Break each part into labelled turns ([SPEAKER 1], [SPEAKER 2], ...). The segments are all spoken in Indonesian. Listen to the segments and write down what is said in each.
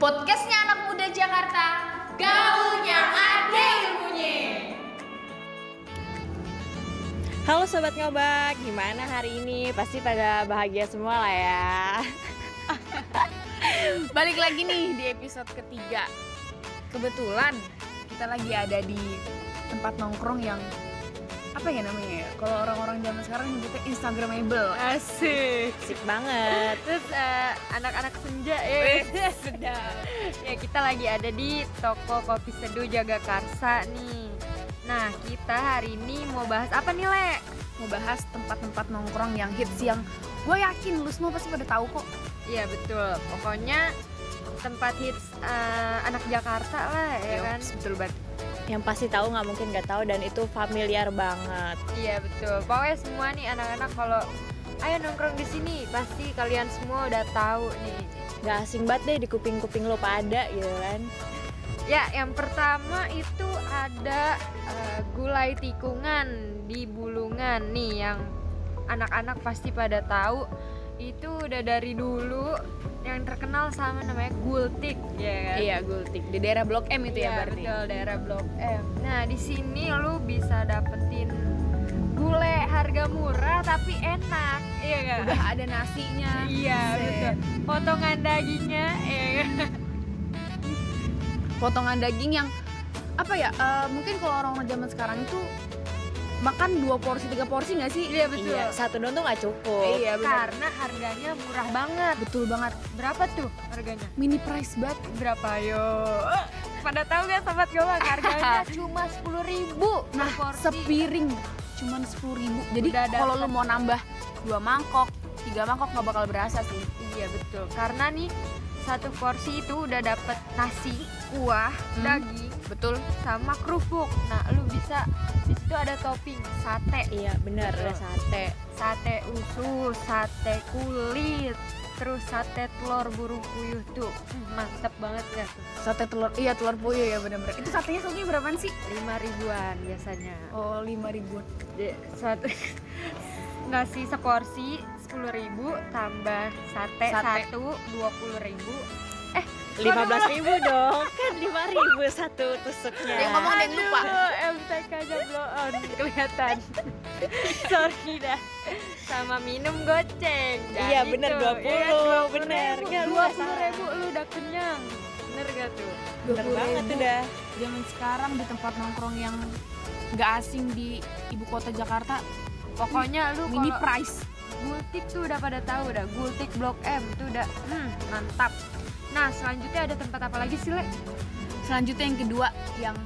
[SPEAKER 1] Podcastnya anak muda Jakarta, gaulnya ada ilmunya.
[SPEAKER 2] Halo Sobat Ngobak, gimana hari ini? Pasti pada bahagia semua lah ya
[SPEAKER 1] Balik lagi nih di episode ketiga. Kebetulan kita lagi ada di tempat nongkrong yang apa ya namanya ya? Kalau orang-orang zaman sekarang nyebutnya Instagramable.
[SPEAKER 3] Asik.
[SPEAKER 2] Asik banget
[SPEAKER 3] Terus eh, anak-anak senja ya. ya kita lagi ada di toko kopi seduh Jagakarsa nih. Nah kita hari ini mau bahas apa nih Le?
[SPEAKER 1] Mau bahas tempat-tempat nongkrong yang hits yang gue yakin lu semua pasti pada tahu kok.
[SPEAKER 3] Iya betul. Pokoknya tempat hits eh, anak Jakarta lah ya kan.
[SPEAKER 1] Yops, betul banget.
[SPEAKER 2] Yang pasti tahu nggak mungkin nggak tahu dan itu familiar banget
[SPEAKER 3] Iya betul. Pokoknya semua nih anak-anak kalau ayo nongkrong di sini pasti kalian semua udah tahu nih.
[SPEAKER 2] Nggak asing banget deh di kuping-kuping lo pada gitu kan
[SPEAKER 3] Ya, yang pertama itu ada eh, gulai tikungan di Bulungan nih yang anak-anak pasti pada tahu. Itu udah dari dulu yang terkenal sama namanya gultik ya. kan?
[SPEAKER 1] Iya, gultik di daerah Blok M itu ya
[SPEAKER 3] Iya,
[SPEAKER 1] berarti.
[SPEAKER 3] betul daerah Blok M. Nah, di sini lu bisa dapetin gulai harga murah tapi enak. Iya kan?
[SPEAKER 1] Udah ada nasinya.
[SPEAKER 3] Iya,
[SPEAKER 1] Set.
[SPEAKER 3] betul. Potongan dagingnya ya. kan?
[SPEAKER 1] potongan daging yang apa ya eh, mungkin kalau orang-orang zaman sekarang itu makan dua porsi tiga porsi nggak sih
[SPEAKER 3] Iya, betul.
[SPEAKER 2] Iya, satu doang tuh nggak cukup
[SPEAKER 1] iya benar
[SPEAKER 3] Karena harganya murah banget.
[SPEAKER 1] betul banget
[SPEAKER 3] Berapa tuh harganya?
[SPEAKER 1] mini price banget
[SPEAKER 3] Berapa yo? Eh, Pada tahu nggak sobat gawang harganya cuma sepuluh ribu
[SPEAKER 1] nah sepiring cuman sepuluh ribu jadi
[SPEAKER 3] Udah
[SPEAKER 1] kalau lu
[SPEAKER 3] dapet.
[SPEAKER 1] mau nambah dua mangkok tiga mangkok nggak bakal berasa sih
[SPEAKER 3] Iya betul. Karena nih satu porsi itu udah dapet nasi, kuah,
[SPEAKER 1] Hmm.
[SPEAKER 3] daging,
[SPEAKER 1] betul
[SPEAKER 3] sama kerupuk. Nah lu bisa di situ ada topping sate,
[SPEAKER 2] Iya bener, ada sate
[SPEAKER 3] sate usus, sate kulit, terus sate telur burung puyuh tuh Hmm, mantep banget ya tuh.
[SPEAKER 1] sate telur iya telur puyuh ya benar-benar itu satenya satunya berapaan sih
[SPEAKER 3] Lima ribuan biasanya.
[SPEAKER 1] oh lima ribuan
[SPEAKER 3] Di- satu nasi seporsi sepuluh ribu tambah sate,
[SPEAKER 1] Sate.
[SPEAKER 3] satu dua puluh ribu
[SPEAKER 2] 15.000 ribu dong, kan 5 ribu satu tusuknya
[SPEAKER 1] Dia ngomong ada yang lupa.
[SPEAKER 3] MTK aja blow on kelihatan sorry dah sama minum goceng Dah
[SPEAKER 2] Iya, bener, 20,
[SPEAKER 3] Iya, 20
[SPEAKER 2] bener.
[SPEAKER 3] ribu.
[SPEAKER 2] Nggak, lu
[SPEAKER 3] dua
[SPEAKER 2] nggak salah.
[SPEAKER 3] ribu lu udah kenyang bener gak tuh
[SPEAKER 2] Bener banget udah
[SPEAKER 1] zaman sekarang di tempat nongkrong yang nggak asing di ibu kota Jakarta
[SPEAKER 3] pokoknya lu
[SPEAKER 1] mini
[SPEAKER 3] kalau
[SPEAKER 1] price
[SPEAKER 3] gultik tuh udah pada tahu dah gultik blok M tuh udah hmm, mantap nah selanjutnya ada tempat apa lagi sih le
[SPEAKER 1] Selanjutnya yang kedua yang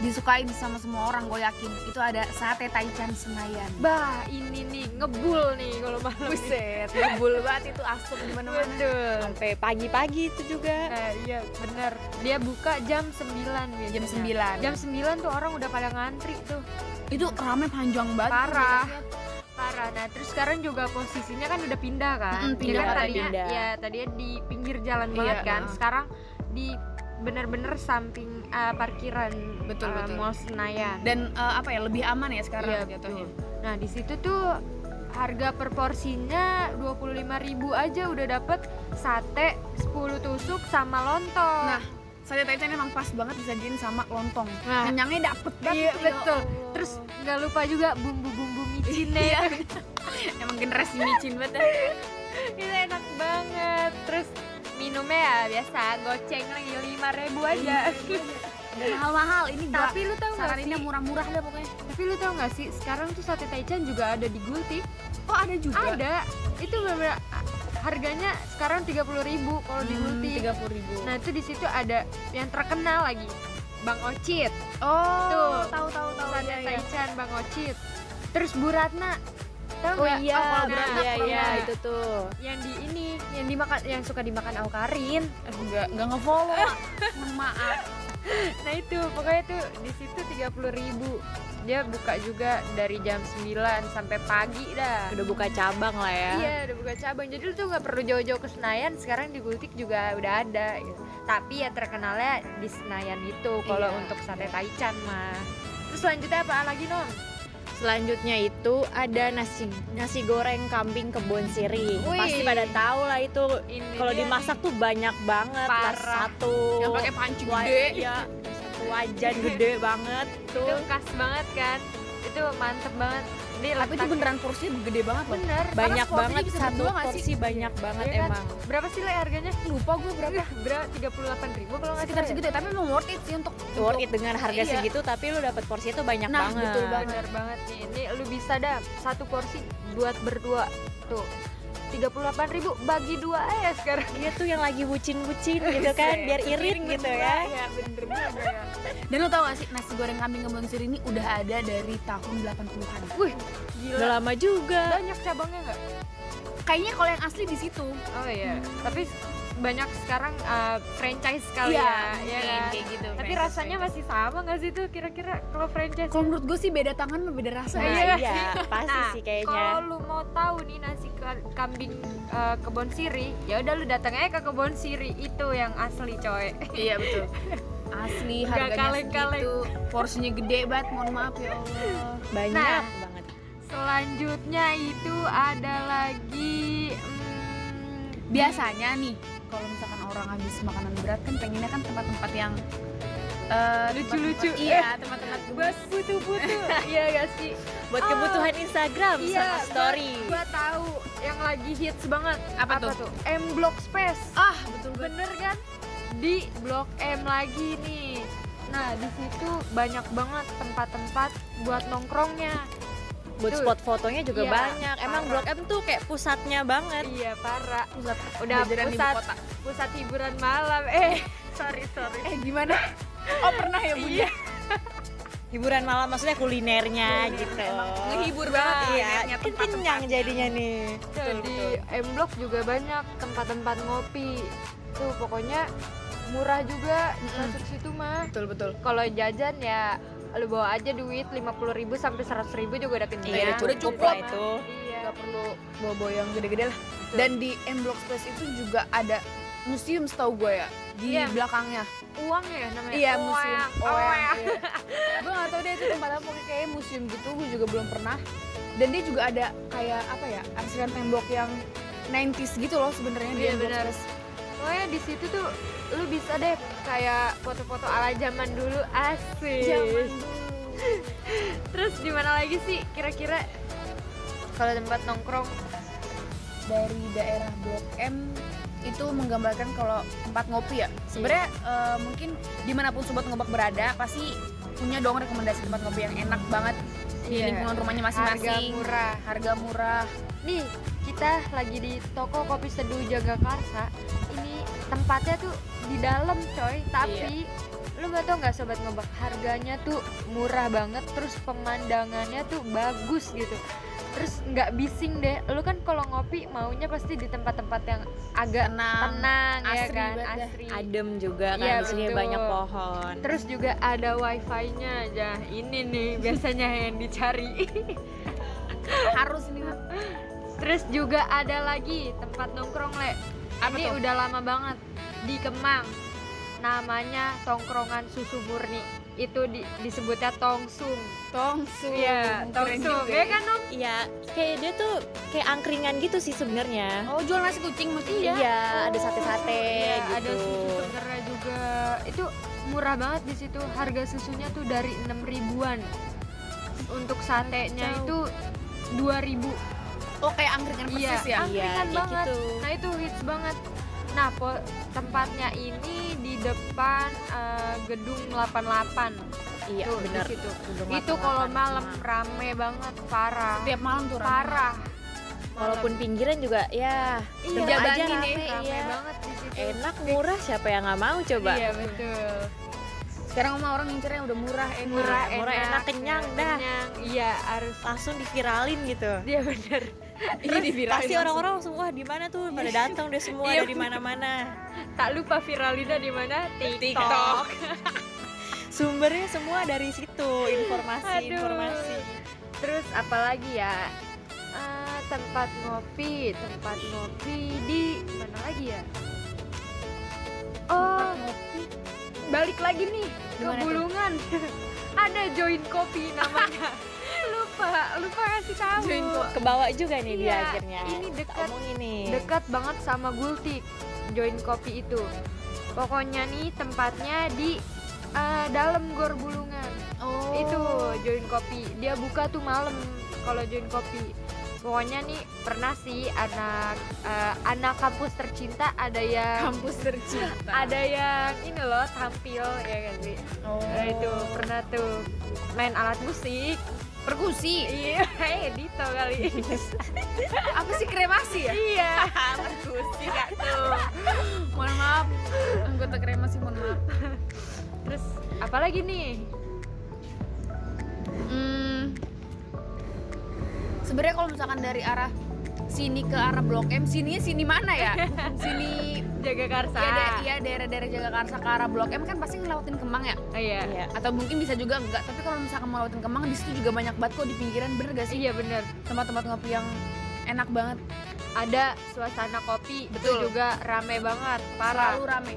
[SPEAKER 1] disukain sama semua orang gue yakin itu ada sate taichan Senayan.
[SPEAKER 3] Bah, ini nih ngebul nih kalau malam. ini.
[SPEAKER 1] Buset, ngebul banget itu asap di mana-mana.
[SPEAKER 3] Betul.
[SPEAKER 2] Sampai pagi-pagi itu juga
[SPEAKER 3] Nah, iya bener. Dia buka jam 9 biasanya.
[SPEAKER 1] Iya. Jam 9.
[SPEAKER 3] Jam 9 tuh orang udah pada ngantri tuh.
[SPEAKER 1] Itu rame panjang banget.
[SPEAKER 3] Parah.
[SPEAKER 1] iya.
[SPEAKER 3] Parah. Nah, terus sekarang juga posisinya kan udah pindah kan?
[SPEAKER 1] Mm-mm, pindah,
[SPEAKER 3] Dia kan
[SPEAKER 1] katanya
[SPEAKER 3] tadinya
[SPEAKER 2] pindah.
[SPEAKER 3] ya tadinya di pinggir jalan
[SPEAKER 1] Iya,
[SPEAKER 3] banget kan.
[SPEAKER 1] uh.
[SPEAKER 3] Sekarang di bener-bener samping eh, parkiran
[SPEAKER 1] Betul,
[SPEAKER 3] eh,
[SPEAKER 1] betul.
[SPEAKER 3] Mall Senayan.
[SPEAKER 1] Dan eh, apa ya lebih aman ya sekarang
[SPEAKER 3] Iya,
[SPEAKER 1] jatuhnya.
[SPEAKER 3] betul. Nah, di situ tuh harga per porsinya 25.000 aja udah dapet sate 10 tusuk sama lontong.
[SPEAKER 1] Nah, sate taichan emang pas banget disajiin sama lontong.
[SPEAKER 3] Nah.
[SPEAKER 1] Kenyangnya dapet banget.
[SPEAKER 3] iya
[SPEAKER 1] itu, ya
[SPEAKER 3] betul.
[SPEAKER 1] Allah.
[SPEAKER 3] Terus nggak lupa juga bumbu-bumbu ya. micinnya.
[SPEAKER 1] Iya. emang generasi micin banget. ya.
[SPEAKER 3] Itu enak banget. Terus minumnya ya biasa goceng lagi 5.000 aja.
[SPEAKER 1] Nggak mahal-mahal ini gua
[SPEAKER 3] Iya. Tapi lu tahu nggak sih?
[SPEAKER 1] saraninnya murah-murah deh pokoknya.
[SPEAKER 3] Tapi lu tahu nggak sih sekarang tuh sate taichan juga ada di Gultik.
[SPEAKER 1] Oh, ada juga.
[SPEAKER 3] Ada. Itu bener-bener harganya sekarang 30.000 kalau di Gultik.
[SPEAKER 1] tiga puluh ribu.
[SPEAKER 3] Nah itu di situ ada yang terkenal lagi Bang Ocit,
[SPEAKER 1] oh,
[SPEAKER 3] Tuh.
[SPEAKER 1] tahu tahu tahu.
[SPEAKER 3] Sate
[SPEAKER 1] iya, iya.
[SPEAKER 3] Taichan Bang Ocit. Terus Bu Ratna,
[SPEAKER 2] Oh
[SPEAKER 3] tahu nggak?
[SPEAKER 2] iya,
[SPEAKER 3] Awal Bu
[SPEAKER 2] bener.
[SPEAKER 3] Ratna
[SPEAKER 2] iya, iya,
[SPEAKER 3] pernah.
[SPEAKER 2] itu tuh
[SPEAKER 3] Yang di ini, yang dimakan, yang suka dimakan Au Karin.
[SPEAKER 1] nggak nggak ngefollow Mohon maaf
[SPEAKER 3] Nah itu pokoknya tuh di situ tiga ribu. Dia buka juga dari jam 9 sampai pagi dah.
[SPEAKER 2] Udah buka cabang lah ya
[SPEAKER 3] Iya, udah buka cabang. Jadi lu tuh nggak perlu jauh-jauh ke Senayan. Sekarang di Gultik juga udah ada. gitu. Tapi ya terkenalnya di Senayan itu. Kalau
[SPEAKER 1] Iya.
[SPEAKER 3] untuk sate Taichan mah. Terus selanjutnya apa lagi nom?
[SPEAKER 2] Selanjutnya itu ada nasi nasi goreng kambing kebon sirih.
[SPEAKER 3] Wih.
[SPEAKER 2] Pasti pada tahu lah itu
[SPEAKER 3] Ini
[SPEAKER 2] kalau
[SPEAKER 3] dia
[SPEAKER 2] dimasak tuh banyak banget. Tas
[SPEAKER 3] Parah.
[SPEAKER 2] Satu.
[SPEAKER 1] Iya yang pakai panci
[SPEAKER 2] Wah,
[SPEAKER 1] gede
[SPEAKER 2] iya, satu wajan gede banget
[SPEAKER 3] nih,
[SPEAKER 2] tuh.
[SPEAKER 3] itu khas banget kan itu mantep banget dia
[SPEAKER 1] tapi itu
[SPEAKER 3] letak-
[SPEAKER 1] beneran kursinya gede banget loh
[SPEAKER 3] bener
[SPEAKER 2] Banyak
[SPEAKER 1] porsinya
[SPEAKER 2] banget
[SPEAKER 1] bisa
[SPEAKER 2] satu
[SPEAKER 1] berdua nggak sih?
[SPEAKER 2] porsi banyak banget
[SPEAKER 3] Iya kan?
[SPEAKER 2] emang.
[SPEAKER 3] berapa sih le harganya
[SPEAKER 1] lupa gue berapa
[SPEAKER 3] berapa tiga puluh ribu kalau nggak
[SPEAKER 1] sekitar
[SPEAKER 3] salah ya?
[SPEAKER 1] segitu ya, tapi emang worth it sih untuk
[SPEAKER 2] Worth it dengan harga
[SPEAKER 1] Iya.
[SPEAKER 2] segitu tapi lu dapat porsi itu banyak
[SPEAKER 1] Nah,
[SPEAKER 2] banget.
[SPEAKER 1] betul banget.
[SPEAKER 3] bener banget nih ini lu bisa dah satu porsi buat berdua tuh tiga ribu bagi dua Eh, aja sekarang
[SPEAKER 2] Iya tuh yang lagi bucin-bucin gitu kan
[SPEAKER 1] Iya,
[SPEAKER 3] Iya,
[SPEAKER 2] biar irit gitu ya.
[SPEAKER 3] ya bener bener
[SPEAKER 1] dan lo tau gak sih nasi goreng kambing kebon sirih ini udah ada dari tahun 80-an
[SPEAKER 2] Udah
[SPEAKER 3] wih gila
[SPEAKER 2] lama juga.
[SPEAKER 3] banyak cabangnya nggak
[SPEAKER 1] kayaknya kalau yang asli di situ
[SPEAKER 3] oh iya tapi banyak sekarang uh, franchise sekali
[SPEAKER 2] Iya.
[SPEAKER 3] ya ya
[SPEAKER 1] kayak-
[SPEAKER 3] kan?
[SPEAKER 1] kayak gitu
[SPEAKER 3] tapi
[SPEAKER 1] franchise,
[SPEAKER 3] rasanya
[SPEAKER 1] franchise.
[SPEAKER 3] masih sama nggak sih tuh kira-kira kalau franchise
[SPEAKER 1] kalau menurut gue sih beda tangan sama beda rasa
[SPEAKER 2] Nah,
[SPEAKER 1] ya.
[SPEAKER 3] Iya.
[SPEAKER 2] iya, pasti
[SPEAKER 3] Nah,
[SPEAKER 2] sih kayaknya.
[SPEAKER 3] kalau lu mau tahu nih nasi ka- kambing uh, kebon siri, ya udah lu datang aja ke kebon siri itu yang asli coy.
[SPEAKER 1] Iya betul. Asli
[SPEAKER 3] Nggak
[SPEAKER 1] harganya
[SPEAKER 3] kaleng-kaleng.
[SPEAKER 1] segitu. Porsinya gede banget, mohon maaf ya Allah.
[SPEAKER 2] Banyak
[SPEAKER 3] Nah.
[SPEAKER 2] banget.
[SPEAKER 3] Selanjutnya itu ada lagi hmm,
[SPEAKER 1] Biasanya nih, kalau misalkan orang habis makanan berat kan pengennya kan tempat-tempat yang eh,
[SPEAKER 3] Lucu-lucu.
[SPEAKER 1] tempat-tempat- Iya, tempat-tempat
[SPEAKER 3] buat
[SPEAKER 1] gemes.
[SPEAKER 3] butuh-butuh, iya gak sih?
[SPEAKER 2] Buat
[SPEAKER 3] Oh,
[SPEAKER 2] kebutuhan Instagram sama
[SPEAKER 3] Iya, gua-
[SPEAKER 2] story.
[SPEAKER 3] Gua tahu yang lagi hits banget.
[SPEAKER 1] Apa tuh?
[SPEAKER 3] M Block Space.
[SPEAKER 1] Ah, betul banget.
[SPEAKER 3] Bener kan? Di Blok M lagi nih. Nah, di situ banyak banget tempat-tempat buat nongkrongnya.
[SPEAKER 2] Buat
[SPEAKER 3] Betul.
[SPEAKER 2] spot fotonya juga
[SPEAKER 3] Iya,
[SPEAKER 2] banyak. Emang
[SPEAKER 3] parah.
[SPEAKER 2] Blok M tuh kayak pusatnya banget.
[SPEAKER 3] Iya, parah.
[SPEAKER 1] Pusat
[SPEAKER 3] Udah
[SPEAKER 1] jajaran ibu
[SPEAKER 3] pusat.
[SPEAKER 1] kota.
[SPEAKER 3] Pusat hiburan malam. Eh, sorry, sorry.
[SPEAKER 1] Eh, gimana? Oh, pernah ya, Bunda?
[SPEAKER 3] Iya,
[SPEAKER 2] Hiburan malam maksudnya
[SPEAKER 3] Iya,
[SPEAKER 2] kulinernya gitu.
[SPEAKER 1] Ngehibur banget
[SPEAKER 2] Iya,
[SPEAKER 3] ya,
[SPEAKER 1] kulinernya
[SPEAKER 2] kan
[SPEAKER 1] tempat-tempat.
[SPEAKER 2] kenyang jadinya nih.
[SPEAKER 3] Tuh, di M Block juga banyak tempat-tempat ngopi. Tuh, pokoknya murah juga
[SPEAKER 1] Mm-mm.
[SPEAKER 3] masuk situ mah.
[SPEAKER 1] Betul, betul.
[SPEAKER 3] Kalau jajan ya lu bawa aja duit 50.000 ribu sampai 100.000 ribu juga udah kenyang.
[SPEAKER 1] Iya, udah cukup
[SPEAKER 2] lah
[SPEAKER 1] lah.
[SPEAKER 2] itu.
[SPEAKER 3] Iya.
[SPEAKER 1] Gak perlu bobo yang gede-gede lah. Dan di M Block Space itu juga ada museum setahu gue ya di
[SPEAKER 3] Iya.
[SPEAKER 1] belakangnya.
[SPEAKER 3] uang ya namanya.
[SPEAKER 1] Iya
[SPEAKER 3] Uang.
[SPEAKER 1] museum
[SPEAKER 3] Uang.
[SPEAKER 1] gue gak tau deh itu tempat apa pokoknya kayak museum gitu gue juga belum pernah dan dia juga ada kayak apa ya arsiran tembok yang 90s gitu loh sebenarnya di
[SPEAKER 3] Iya,
[SPEAKER 1] Unbox
[SPEAKER 3] benar.
[SPEAKER 1] Press.
[SPEAKER 3] Pokoknya di situ tuh lu bisa deh kayak foto-foto ala zaman dulu asik.
[SPEAKER 1] Zaman dulu.
[SPEAKER 3] Terus di mana lagi sih kira-kira kalau tempat nongkrong?
[SPEAKER 1] dari daerah Blok M itu menggambarkan kalau tempat ngopi ya sebenarnya
[SPEAKER 3] Iya.
[SPEAKER 1] eh, mungkin dimanapun sobat ngobak berada pasti punya dong rekomendasi tempat ngopi yang enak banget di lingkungan rumahnya
[SPEAKER 3] Iya. Harga
[SPEAKER 1] masing-masing
[SPEAKER 3] murah.
[SPEAKER 1] harga murah
[SPEAKER 3] Nih, kita lagi di toko kopi seduh Jagakarsa. Ini tempatnya tuh di dalam, coy. Tapi
[SPEAKER 1] Iya.
[SPEAKER 3] lu gak tau nggak sobat ngebak harganya tuh murah banget, terus pemandangannya tuh bagus gitu. Terus nggak bising deh. Lu kan kalau ngopi maunya pasti di tempat-tempat yang agak
[SPEAKER 1] tenang
[SPEAKER 3] tenang ya
[SPEAKER 1] asri
[SPEAKER 3] kan,
[SPEAKER 1] banget dah.
[SPEAKER 3] asri.
[SPEAKER 2] Adem juga kan
[SPEAKER 3] Iya,
[SPEAKER 2] di sini
[SPEAKER 3] betul.
[SPEAKER 2] banyak pohon.
[SPEAKER 3] Terus juga ada wifi-nya aja. Ini nih biasanya yang dicari.
[SPEAKER 1] harus ini Nat.
[SPEAKER 3] Terus juga ada lagi tempat nongkrong le.
[SPEAKER 1] Apa
[SPEAKER 3] ini
[SPEAKER 1] tuh?
[SPEAKER 3] udah lama banget di Kemang. Namanya tongkrongan susu murni. Itu di- disebutnya tongsum.
[SPEAKER 1] Tongsum
[SPEAKER 3] Iya,
[SPEAKER 1] Keren juga
[SPEAKER 3] tongsum. Ya
[SPEAKER 1] ya.
[SPEAKER 3] kan Nom?
[SPEAKER 2] Iya, kayak dia tuh kayak angkringan gitu sih sebenarnya.
[SPEAKER 1] Oh jual nasi kucing ya? maksudnya?
[SPEAKER 2] Iya, ada sate-sate
[SPEAKER 3] Iya,
[SPEAKER 2] gitu.
[SPEAKER 3] ada susu segernya juga. Itu murah banget di situ. Harga susunya tuh dari 6 ribuan. Untuk satenya
[SPEAKER 2] Kacau.
[SPEAKER 3] itu 2000.
[SPEAKER 1] Oh kayak angkringan
[SPEAKER 3] Iya.
[SPEAKER 1] persis ya?
[SPEAKER 2] Iya,
[SPEAKER 3] Angkringan
[SPEAKER 2] kayak
[SPEAKER 3] banget.
[SPEAKER 2] gitu.
[SPEAKER 3] Nah itu hits banget. Nah po- tempatnya ini di depan eh, gedung 88.
[SPEAKER 2] Iya,
[SPEAKER 3] Tuh,
[SPEAKER 2] benar.
[SPEAKER 3] Di situ. Itu kalau malam
[SPEAKER 2] nah.
[SPEAKER 3] rame banget parah.
[SPEAKER 1] Tiap malam tuh ramai.
[SPEAKER 3] parah.
[SPEAKER 2] walaupun pinggiran juga ya
[SPEAKER 3] Iya,
[SPEAKER 2] tetap
[SPEAKER 1] dijagain
[SPEAKER 2] aja
[SPEAKER 1] nih,
[SPEAKER 2] rame,
[SPEAKER 3] rame
[SPEAKER 2] iya.
[SPEAKER 3] banget di situ.
[SPEAKER 2] Enak, murah, siapa yang nggak mau coba?
[SPEAKER 3] Iya betul.
[SPEAKER 1] Sekarang mah orang ngincernya udah murah enak.
[SPEAKER 3] Murah,
[SPEAKER 2] Iya, murah, enak, kenyang dah.
[SPEAKER 3] Kenyang. Iya harus. Iya,
[SPEAKER 2] Langsung diviralin gitu.
[SPEAKER 3] Dia bener.
[SPEAKER 1] Ini diviralin
[SPEAKER 2] Pasti
[SPEAKER 1] langsung.
[SPEAKER 2] orang-orang langsung wah di mana tuh pada datang deh semua
[SPEAKER 3] Iya,
[SPEAKER 2] dari mana-mana.
[SPEAKER 3] Tak lupa viralina di mana? TikTok.
[SPEAKER 2] TikTok. Sumbernya semua dari situ
[SPEAKER 3] Aduh.
[SPEAKER 2] informasi-informasi.
[SPEAKER 3] Terus apalagi ya? Eh, tempat ngopi, tempat ngopi di mana lagi ya? Oh,
[SPEAKER 1] Ngopi.
[SPEAKER 3] balik lagi nih
[SPEAKER 1] Di mana
[SPEAKER 3] ke Bulungan. Ada join kopi namanya. Lupa lupa, lupa kasih tahu.
[SPEAKER 2] Kebawa juga nih dia
[SPEAKER 3] Iya,
[SPEAKER 2] akhirnya.
[SPEAKER 3] ini
[SPEAKER 2] Kita
[SPEAKER 3] dekat-
[SPEAKER 2] omongin nih.
[SPEAKER 3] Dekat banget sama Gultik, join kopi itu. Pokoknya nih tempatnya di eh, dalam Gor Bulungan.
[SPEAKER 1] Oh.
[SPEAKER 3] Itu join kopi. Dia buka tuh malam kalau join kopi. Pokoknya nih pernah sih anak eh, anak kampus tercinta ada yang
[SPEAKER 1] kampus tercinta.
[SPEAKER 3] ada yang ini loh tampil ya kan sih.
[SPEAKER 1] Oh.
[SPEAKER 3] Nah, itu pernah tuh main alat musik.
[SPEAKER 1] perkusi.
[SPEAKER 3] Iya, kayak Dito kali.
[SPEAKER 1] Apa sih kremasi ya?
[SPEAKER 3] iya.
[SPEAKER 1] perkusi gak tuh. mohon maaf. Anggota kremasi mohon maaf.
[SPEAKER 3] Terus apalagi nih?
[SPEAKER 1] Hmm. Sebenarnya kalau misalkan dari arah sini ke arah Blok M, sininya sini mana ya? Sini
[SPEAKER 3] Jaga Karsa.
[SPEAKER 1] ya, da- ya daerah-daerah Jagakarsa ke arah Blok M kan pasti ngelewatin Kemang ya?
[SPEAKER 3] Oh, iya.
[SPEAKER 2] Iya.
[SPEAKER 1] Atau mungkin bisa juga enggak, tapi kalau misalkan ngelewatin Kemang di situ juga banyak banget kok di pinggiran, bener gak sih?
[SPEAKER 3] Iya bener.
[SPEAKER 1] Tempat-tempat ngopi yang enak banget,
[SPEAKER 3] Ada suasana kopi
[SPEAKER 1] Betul.
[SPEAKER 3] itu juga rame banget, parah.
[SPEAKER 1] selalu rame.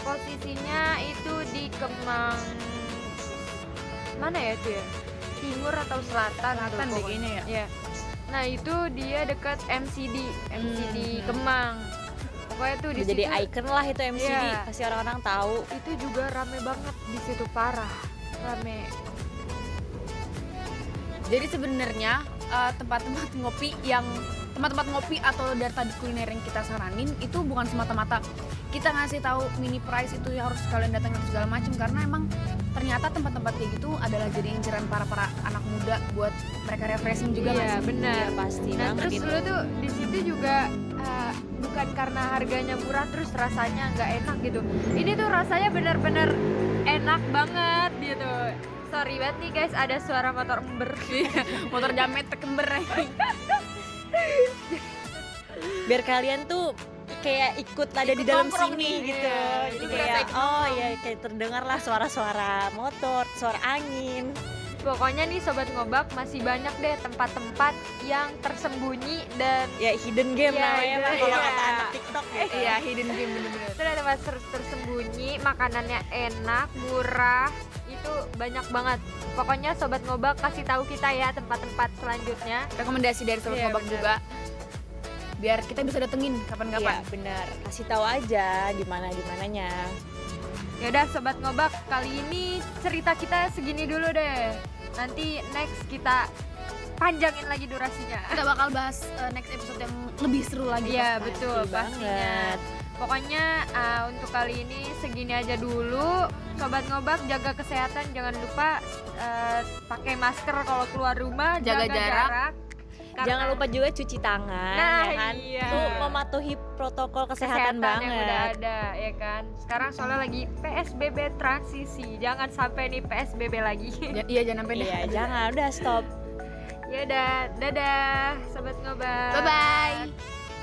[SPEAKER 3] Posisinya itu di Kemang mana ya itu ya? Timur atau selatan? tuh
[SPEAKER 1] Selatan deh
[SPEAKER 3] pokoknya.
[SPEAKER 1] kayaknya ya.
[SPEAKER 3] Iya. Nah itu dia dekat MCD, MCD
[SPEAKER 1] Hmm.
[SPEAKER 3] Kemang. Pokoknya tuh di
[SPEAKER 2] Udah jadi
[SPEAKER 3] situ
[SPEAKER 2] icon lah itu MCD.
[SPEAKER 3] Iya.
[SPEAKER 2] Pasti orang-orang tahu.
[SPEAKER 3] itu juga rame banget di situ parah, rame.
[SPEAKER 1] Jadi sebenarnya eh, tempat-tempat ngopi yang tempat-tempat ngopi atau dari tadi kuliner yang kita saranin itu bukan semata-mata kita ngasih tahu mini price itu ya harus kalian datangin segala macam karena emang ternyata tempat-tempat kayak gitu adalah jadi inceran para para anak muda buat mereka refreshing juga nggak
[SPEAKER 3] Iya,
[SPEAKER 1] sih?
[SPEAKER 3] benar.
[SPEAKER 2] Iya, pasti
[SPEAKER 3] Nah
[SPEAKER 2] banget
[SPEAKER 3] terus
[SPEAKER 1] gitu.
[SPEAKER 2] itu.
[SPEAKER 3] lu tuh di situ juga eh, bukan karena harganya murah terus rasanya nggak enak gitu. Ini tuh rasanya benar-benar enak banget gitu. Sorry banget nih guys ada suara motor ember.
[SPEAKER 1] motor jamet tekember
[SPEAKER 2] Biar kalian tuh kayak ikut ada di
[SPEAKER 1] Ikut
[SPEAKER 2] dalam
[SPEAKER 1] nongkrong
[SPEAKER 2] sini
[SPEAKER 1] nih.
[SPEAKER 2] gitu.
[SPEAKER 3] Iya,
[SPEAKER 2] Jadi
[SPEAKER 3] ikut
[SPEAKER 2] kayak
[SPEAKER 1] berasa ikut
[SPEAKER 2] oh ya kayak terdengar lah suara-suara motor, suara angin.
[SPEAKER 3] Pokoknya nih sobat ngobak masih banyak deh tempat-tempat yang tersembunyi dan
[SPEAKER 2] Ya hidden game
[SPEAKER 3] Iya,
[SPEAKER 2] namanya
[SPEAKER 3] hidden
[SPEAKER 2] Pak, kalau
[SPEAKER 3] game. Eh,
[SPEAKER 2] kata anak TikTok ya.
[SPEAKER 1] iya hidden game bener-bener
[SPEAKER 3] itu ada tempat ter- tersembunyi makanannya enak murah itu banyak banget. Pokoknya sobat ngobak kasih tahu kita ya tempat-tempat selanjutnya.
[SPEAKER 1] rekomendasi dari Sobat
[SPEAKER 3] Iya,
[SPEAKER 1] Ngobak
[SPEAKER 3] benar.
[SPEAKER 1] juga biar kita bisa datengin kapan-kapan
[SPEAKER 2] Iya benar. Kasih tahu aja di mana di mananya.
[SPEAKER 3] Yaudah Ya sobat ngobak kali ini cerita kita segini dulu deh. Nanti next kita panjangin lagi durasinya.
[SPEAKER 1] kita bakal bahas eh, next episode yang lebih seru lagi
[SPEAKER 3] Iya
[SPEAKER 1] pasti.
[SPEAKER 3] betul
[SPEAKER 2] Pasti
[SPEAKER 3] pastinya.
[SPEAKER 2] banget.
[SPEAKER 3] Pokoknya uh, untuk kali ini segini aja dulu. Sobat ngobak jaga kesehatan jangan lupa uh, pakai masker kalau keluar rumah,
[SPEAKER 1] Jaga jarak.
[SPEAKER 2] Jangan
[SPEAKER 3] Karena
[SPEAKER 2] lupa juga cuci tangan,
[SPEAKER 3] Nah,
[SPEAKER 2] ya kan?
[SPEAKER 3] iya.
[SPEAKER 2] Tuh mematuhi protokol kesehatan,
[SPEAKER 3] kesehatan yang udah
[SPEAKER 2] banget.
[SPEAKER 3] ada ya kan. Sekarang soalnya lagi PSBB transisi. Jangan sampai nih PSBB lagi.
[SPEAKER 1] Ja- iya jangan sampai deh.
[SPEAKER 2] Iya, jangan udah stop.
[SPEAKER 3] Yaudah, dadah Ya sobat ngobat.
[SPEAKER 1] Bye bye.